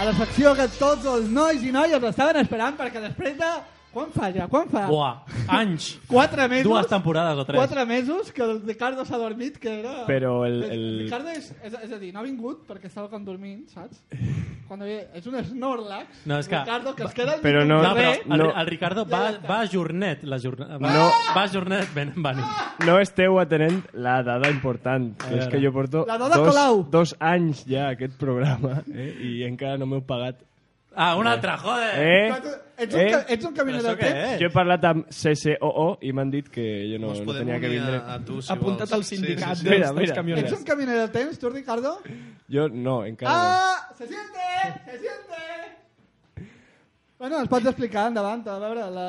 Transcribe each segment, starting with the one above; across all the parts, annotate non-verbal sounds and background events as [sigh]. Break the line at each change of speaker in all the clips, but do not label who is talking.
a la secció que tots els nois i noies estaven esperant perquè després de... Quan fa ja? Quan fa?
Buah, anys.
Ah. [laughs] Quatre mesos.
Dues temporades o tres.
Quatre mesos que el Ricardo s'ha dormit, que era...
Però el- el-
Ricardo és, és, és a dir, no ha vingut perquè estava com dormint, saps? Quan havia... És un Snorlax,
No, és que-
Ricardo, que es queda... al
Però
mig
no-
del
No, però
carrer.
el,
No.
el Ricardo va, va a Jornet. La jorn... va,
No.
va a Jornet, ben, van.
No esteu atenent la dada important, que és
veure.
que jo porto
La dada
dos,
Colau.
dos anys ja a aquest programa eh? i encara no m'heu pagat.
Ah, un altre, joder.
Eh?
Ets un, eh.
Eh?
ca- ets un caminer
Però això
del
què
temps?
és?
Jo he parlat amb CCOO i m'han dit que jo no,
Us
no
podem
tenia que
unir
vindre.
A, a tu, si
Apuntat al
vols.
sindicat
sí.
dels,
Mira,
dels
mira.
camioners.
Ets un caminer del temps, tu, Ricardo?
Jo no, encara no.
Ah! Se siente! Se siente! Bueno, ens pots explicar, endavant, a veure... La...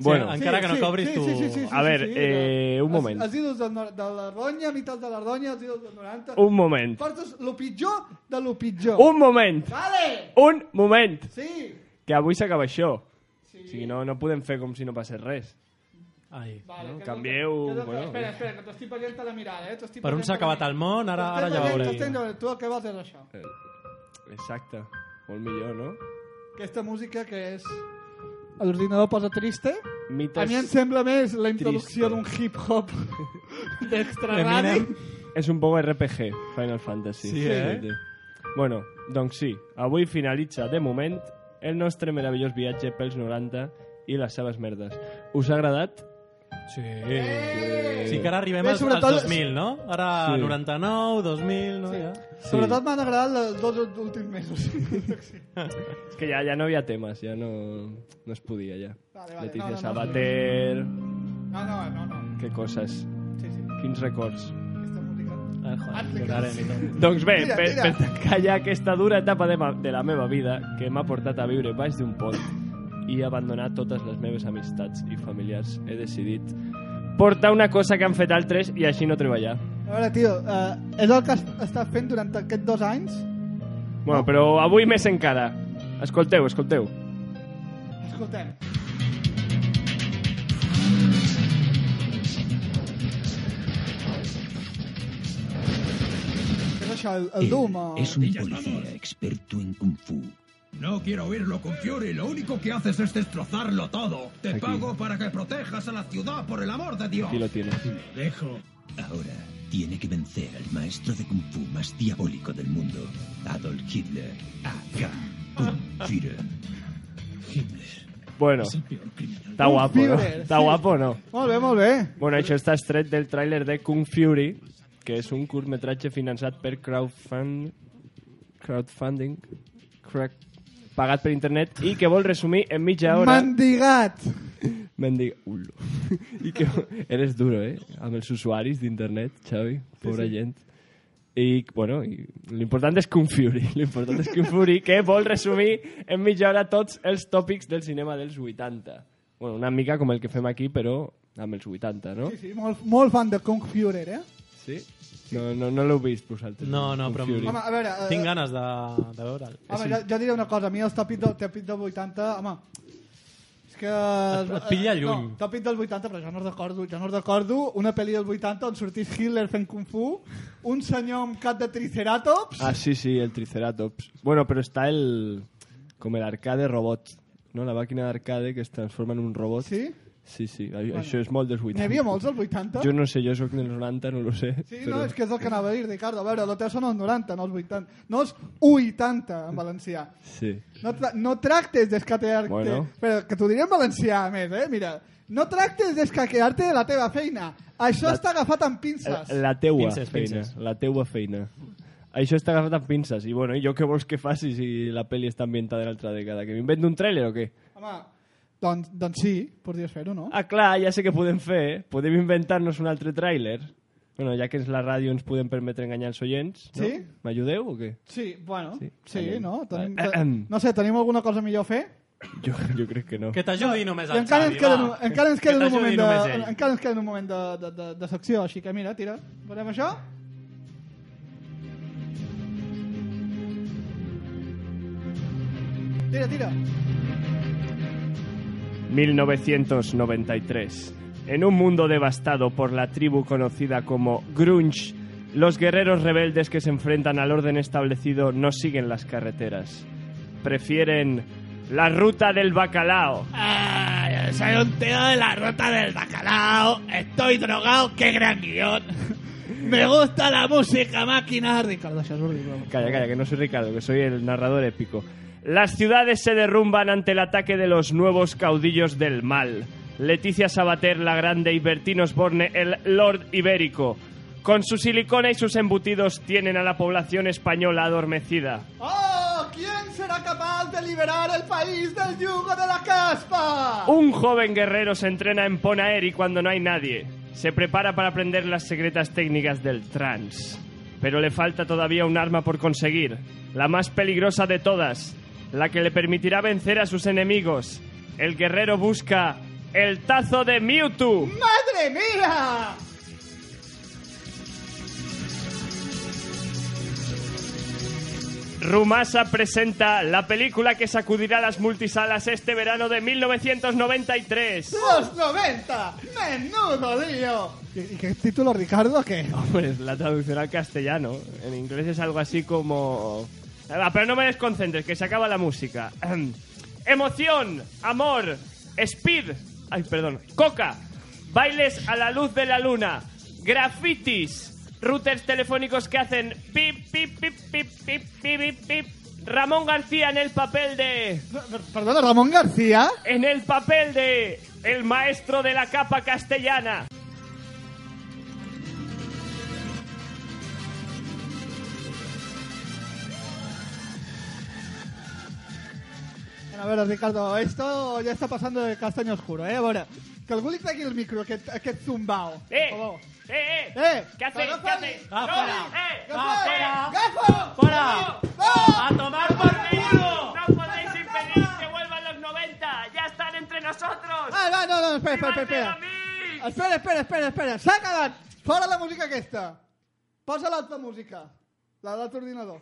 Bueno.
Encara que no cobris
sí,
tu.
Sí, sí, sí, sí,
A veure,
sí, sí,
eh,
de-
un moment.
Els, els ídols del nor- de l'Ardonya, meitat de l'Ardonya, els ídols del 90...
Un moment.
Portes lo pitjor de lo pitjor.
Un moment!
Vale!
Un moment!
Sí!
Que avui s'acaba això.
Sí.
O sigui, no, no podem fer com si no passés res.
Ai.
Vale, que
canvieu,
que- que-
bueno.
Espera, espera, que t'ho estic veient a la mirada, eh? T'ho estic
Per on
veient
s'ha
a la
acabat
mirada.
el món, ara,
T'ho
ara
estic
ja
veient, t'ho
veuré.
estic veient. Tu el que vols és això.
Exacte. Molt millor, no?
Aquesta música que és... A l'ordinador posa triste.
Mites...
A mi em sembla més la introducció d'un
[laughs]
hip-hop d'extraradi.
Eminem.
És un poc RPG, Final Fantasy.
Sí, eh?
Sí. Bueno, doncs sí, avui finalitza, de moment, el nostre meravellós viatge pels 90 i les seves merdes. Us ha agradat?
Sí. Sí que ara arribem
Bé,
als, als
sobretot-
2000, no? Ara
Sí.
99, 2000, no? Ja.
Sobretot m'han agradat els dos últims mesos.
[laughs] És que ja, ja no hi havia temes, ja no, no es podia, ja.
Vale, vale,
Leticia
no, no, no.
Sabater...
No, no, no, no.
Que coses,
Sí, sí,
quins records.
aquesta música.
Ah,
Art
joder, llorarem i tot.
Doncs bé,
Mira,
per,
mira.
per tancar ja aquesta dura etapa de, ma, de la meva vida que m'ha portat a viure baix d'un pont i abandonar totes les meves amistats i familiars, he decidit portar una cosa que han fet altres i així no treballar.
A veure, tio, eh, és el que has estat fent durant aquests dos anys?
Bueno, però avui més encara. Escolteu, escolteu.
Escoltem. Què és això, el,
Eh,
el Doom? O...
Es un policía experto en kung fu.
No quiero oírlo con Fury, lo único que haces es destrozarlo todo. Te
Aquí.
pago para que protejas a la ciudad, por el amor de Dios.
Aquí lo tienes.
Dejo.
Ahora tiene que vencer al maestro de kung fu más diabólico del mundo, Adolf Hitler, acá, Führer.
Ah. Hitler
Bueno,
es el peor criminal.
està guapo, no?
Führer,
Està
sí.
guapo, no?
Molt bé, molt bé.
Bueno, això està estret del tràiler de Kung Fury, que és un curtmetratge finançat per crowdfund... crowdfunding... Crack, pagat per internet i que vol resumir en mitja hora...
Mendigat!
Mendiga... Ulo. [laughs] I que... Eres duro, eh? Amb els usuaris d'internet, Xavi. Pobra gent. I, bueno, i l'important és Kung Fury. [laughs] L'important és Kung Fury, que vol resumir en mitja hora tots els tòpics del cinema dels 80. Bueno, una mica com el que fem aquí, però amb els 80, no?
Sí, sí, molt, molt fan de Kung Führer, eh?
Sí? No, no, no l'heu vist vosaltres.
No, no,
Kung
però- em
Fury.
Home, a veure... Eh,
Tinc ganes de, de veure'l.
Home, jo, jo diré una cosa. A mi els tòpics del, tòpic del 80... Home, és que... eh,
Et- et pilla lluny.
No, tòpic del 80, però jo no recordo. Jo no recordo una pel·li del 80 on sortís Hitler fent Kung Fu, un senyor amb cap de triceratops...
Ah, sí, sí, el Triceratops. Bueno, però està el... com l'arcade robot, no? La màquina d'arcade que es transforma en un robot.
Sí?
Sí, sí, a- això és molt dels 80.
N'hi havia molts als 80?
Jo no sé, jo sóc dels 90, no ho sé.
Sí,
però...
no, és que és el que anava a dir, Ricardo. A veure, el teu són els 90, no els 80. No els 80, en valencià.
Sí.
No, tra no tractes d'escaquear-te...
Bueno.
Però que t'ho diré en valencià, a més, eh? Mira, no tractes d'escaquear-te de la teva feina. Això
La-
està agafat amb pinces.
La teua
Pinces,
feina.
pinces.
La teua feina. Això està agafat amb pinces. I bueno, i jo què vols que faci si la pel·li està ambientada en altra dècada? Que m'invento un tràiler o què?
Home, doncs, doncs sí, podries fer-ho, no?
Ah, clar, ja sé què podem fer. eh? Podem inventar-nos un altre tràiler. Bueno, ja que és la ràdio ens podem permetre enganyar els oients. No?
Sí.
M'ajudeu o què?
Sí, bueno, sí,
Sí, anem.
no? Tenim, Eh,
Vale. Ahem.
no sé, tenim alguna cosa millor a fer?
Jo, jo crec que no.
Que t'ajudi només
I
el
encara,
Xavi,
ens queda,
Doncs va.
un- encara ens
Que [laughs]
queda un
t'ajudi
moment
només
de,
ell.
encara ens queda un moment de, de, de, de secció, així que mira, tira, veurem això? Tira, tira.
1993. En un mundo devastado por la tribu conocida como Grunge, los guerreros rebeldes que se enfrentan al orden establecido no siguen las carreteras. prefieren la ruta del bacalao.
Ay, soy un tío de la ruta del bacalao. Estoy drogado, qué gran guión. Me gusta la música, máquina.
Ricardo Xasurdi, bravo.
Calla, calla, que no soy Ricardo, que soy el narrador épico. Las ciudades se derrumban ante el ataque de los nuevos caudillos del mal. Leticia Sabater la Grande y Bertino Osborne el Lord Ibérico. Con su silicona y sus embutidos tienen a la población española adormecida.
¡Oh! ¿Quién será capaz de liberar el país del yugo de la caspa?
Un joven guerrero se entrena en Ponaeri cuando no hay nadie. Se prepara para aprender las secretas técnicas del trans. Pero le falta todavía un arma por conseguir, la más peligrosa de todas, la que le permitirá vencer a sus enemigos. El guerrero busca el tazo de Mewtwo.
¡Madre mía!
Rumasa presenta la película que sacudirá las multisalas este verano de 1993.
¡Los 90! ¡Menudo lío! ¿Y, y qué título, Ricardo? ¿Qué?
Pues [laughs] la traducción al castellano. En inglés es algo así como. Ah, Pero no me desconcentres, que se acaba la música. [clears throat] Emoción, amor, speed. Ay, perdón. Coca. Bailes a la luz de la luna. Grafitis. Routers telefónicos que hacen pip, pip, pip, pip, pip, pip, pip, pip. Ramón García en el papel de.
Perdona, Ramón García.
En el papel de. El maestro de la capa castellana.
A veure, Ricardo, esto ya está pasando de castaño oscuro, eh? A veure, que algú li tregui el micro, aquest, aquest zumbao.
¡Eh!
Per favor.
¡Eh, eh!
Eh,
¿Qué haces?
agafa
¿Qué
el-
haces?
Va,
¡No!
fuera.
¡Eh!
¡Gafa!
¡Va, fuera!
¡Gafa!
¡Fuera!
¡Va!
¡A tomar por culo!
eh, No podéis impedir que vuelvan los 90. Ya están entre nosotros.
Ah, no, no, no, espera, espera, espera,
¡Viva
espera.
el Mega Mix!
Espera, espera, espera, espera. Saca-la! Fora la música aquesta. Posa l'altra música. La de l'altre ordinador.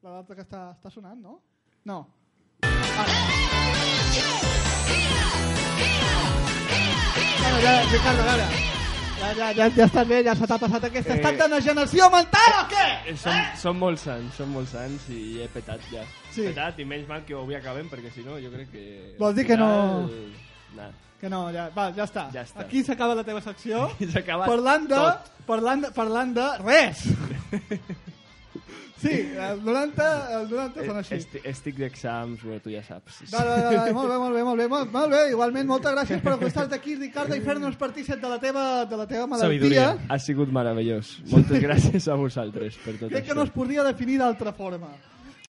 La de l'altra que està, està sonant, no? No. Bueno, ja, Ricardo, a veure. Ja, ja, ja, ja està bé, ja se t'ha passat aquesta.
Eh.
Estàs de generació mental o què?
Eh, Som, som molts sants, som molts sants i he petat ja.
Sí.
Petat i menys mal que avui acabem perquè si no jo crec que...
Vol dir que no-
Nah.
Que no, ja, va, ja està.
Ja està.
Aquí s'acaba la teva secció.
Aquí s'acaba
parlant de,
tot.
parlant de, parlant de res. sí, el 90, el
Eh,
90 són així.
Estic, estic d'exams, però tu ja saps.
Vale, vale, vale, molt bé, molt bé, molt bé, molt, molt bé. Igualment, moltes gràcies per acostar-te aquí, Ricardo, i fer-nos partícip de la teva, de la teva malaltia.
Sabidoria.
Ha sigut meravellós. Moltes gràcies a vosaltres per tot
Crec que
això.
no es podria definir d'altra forma.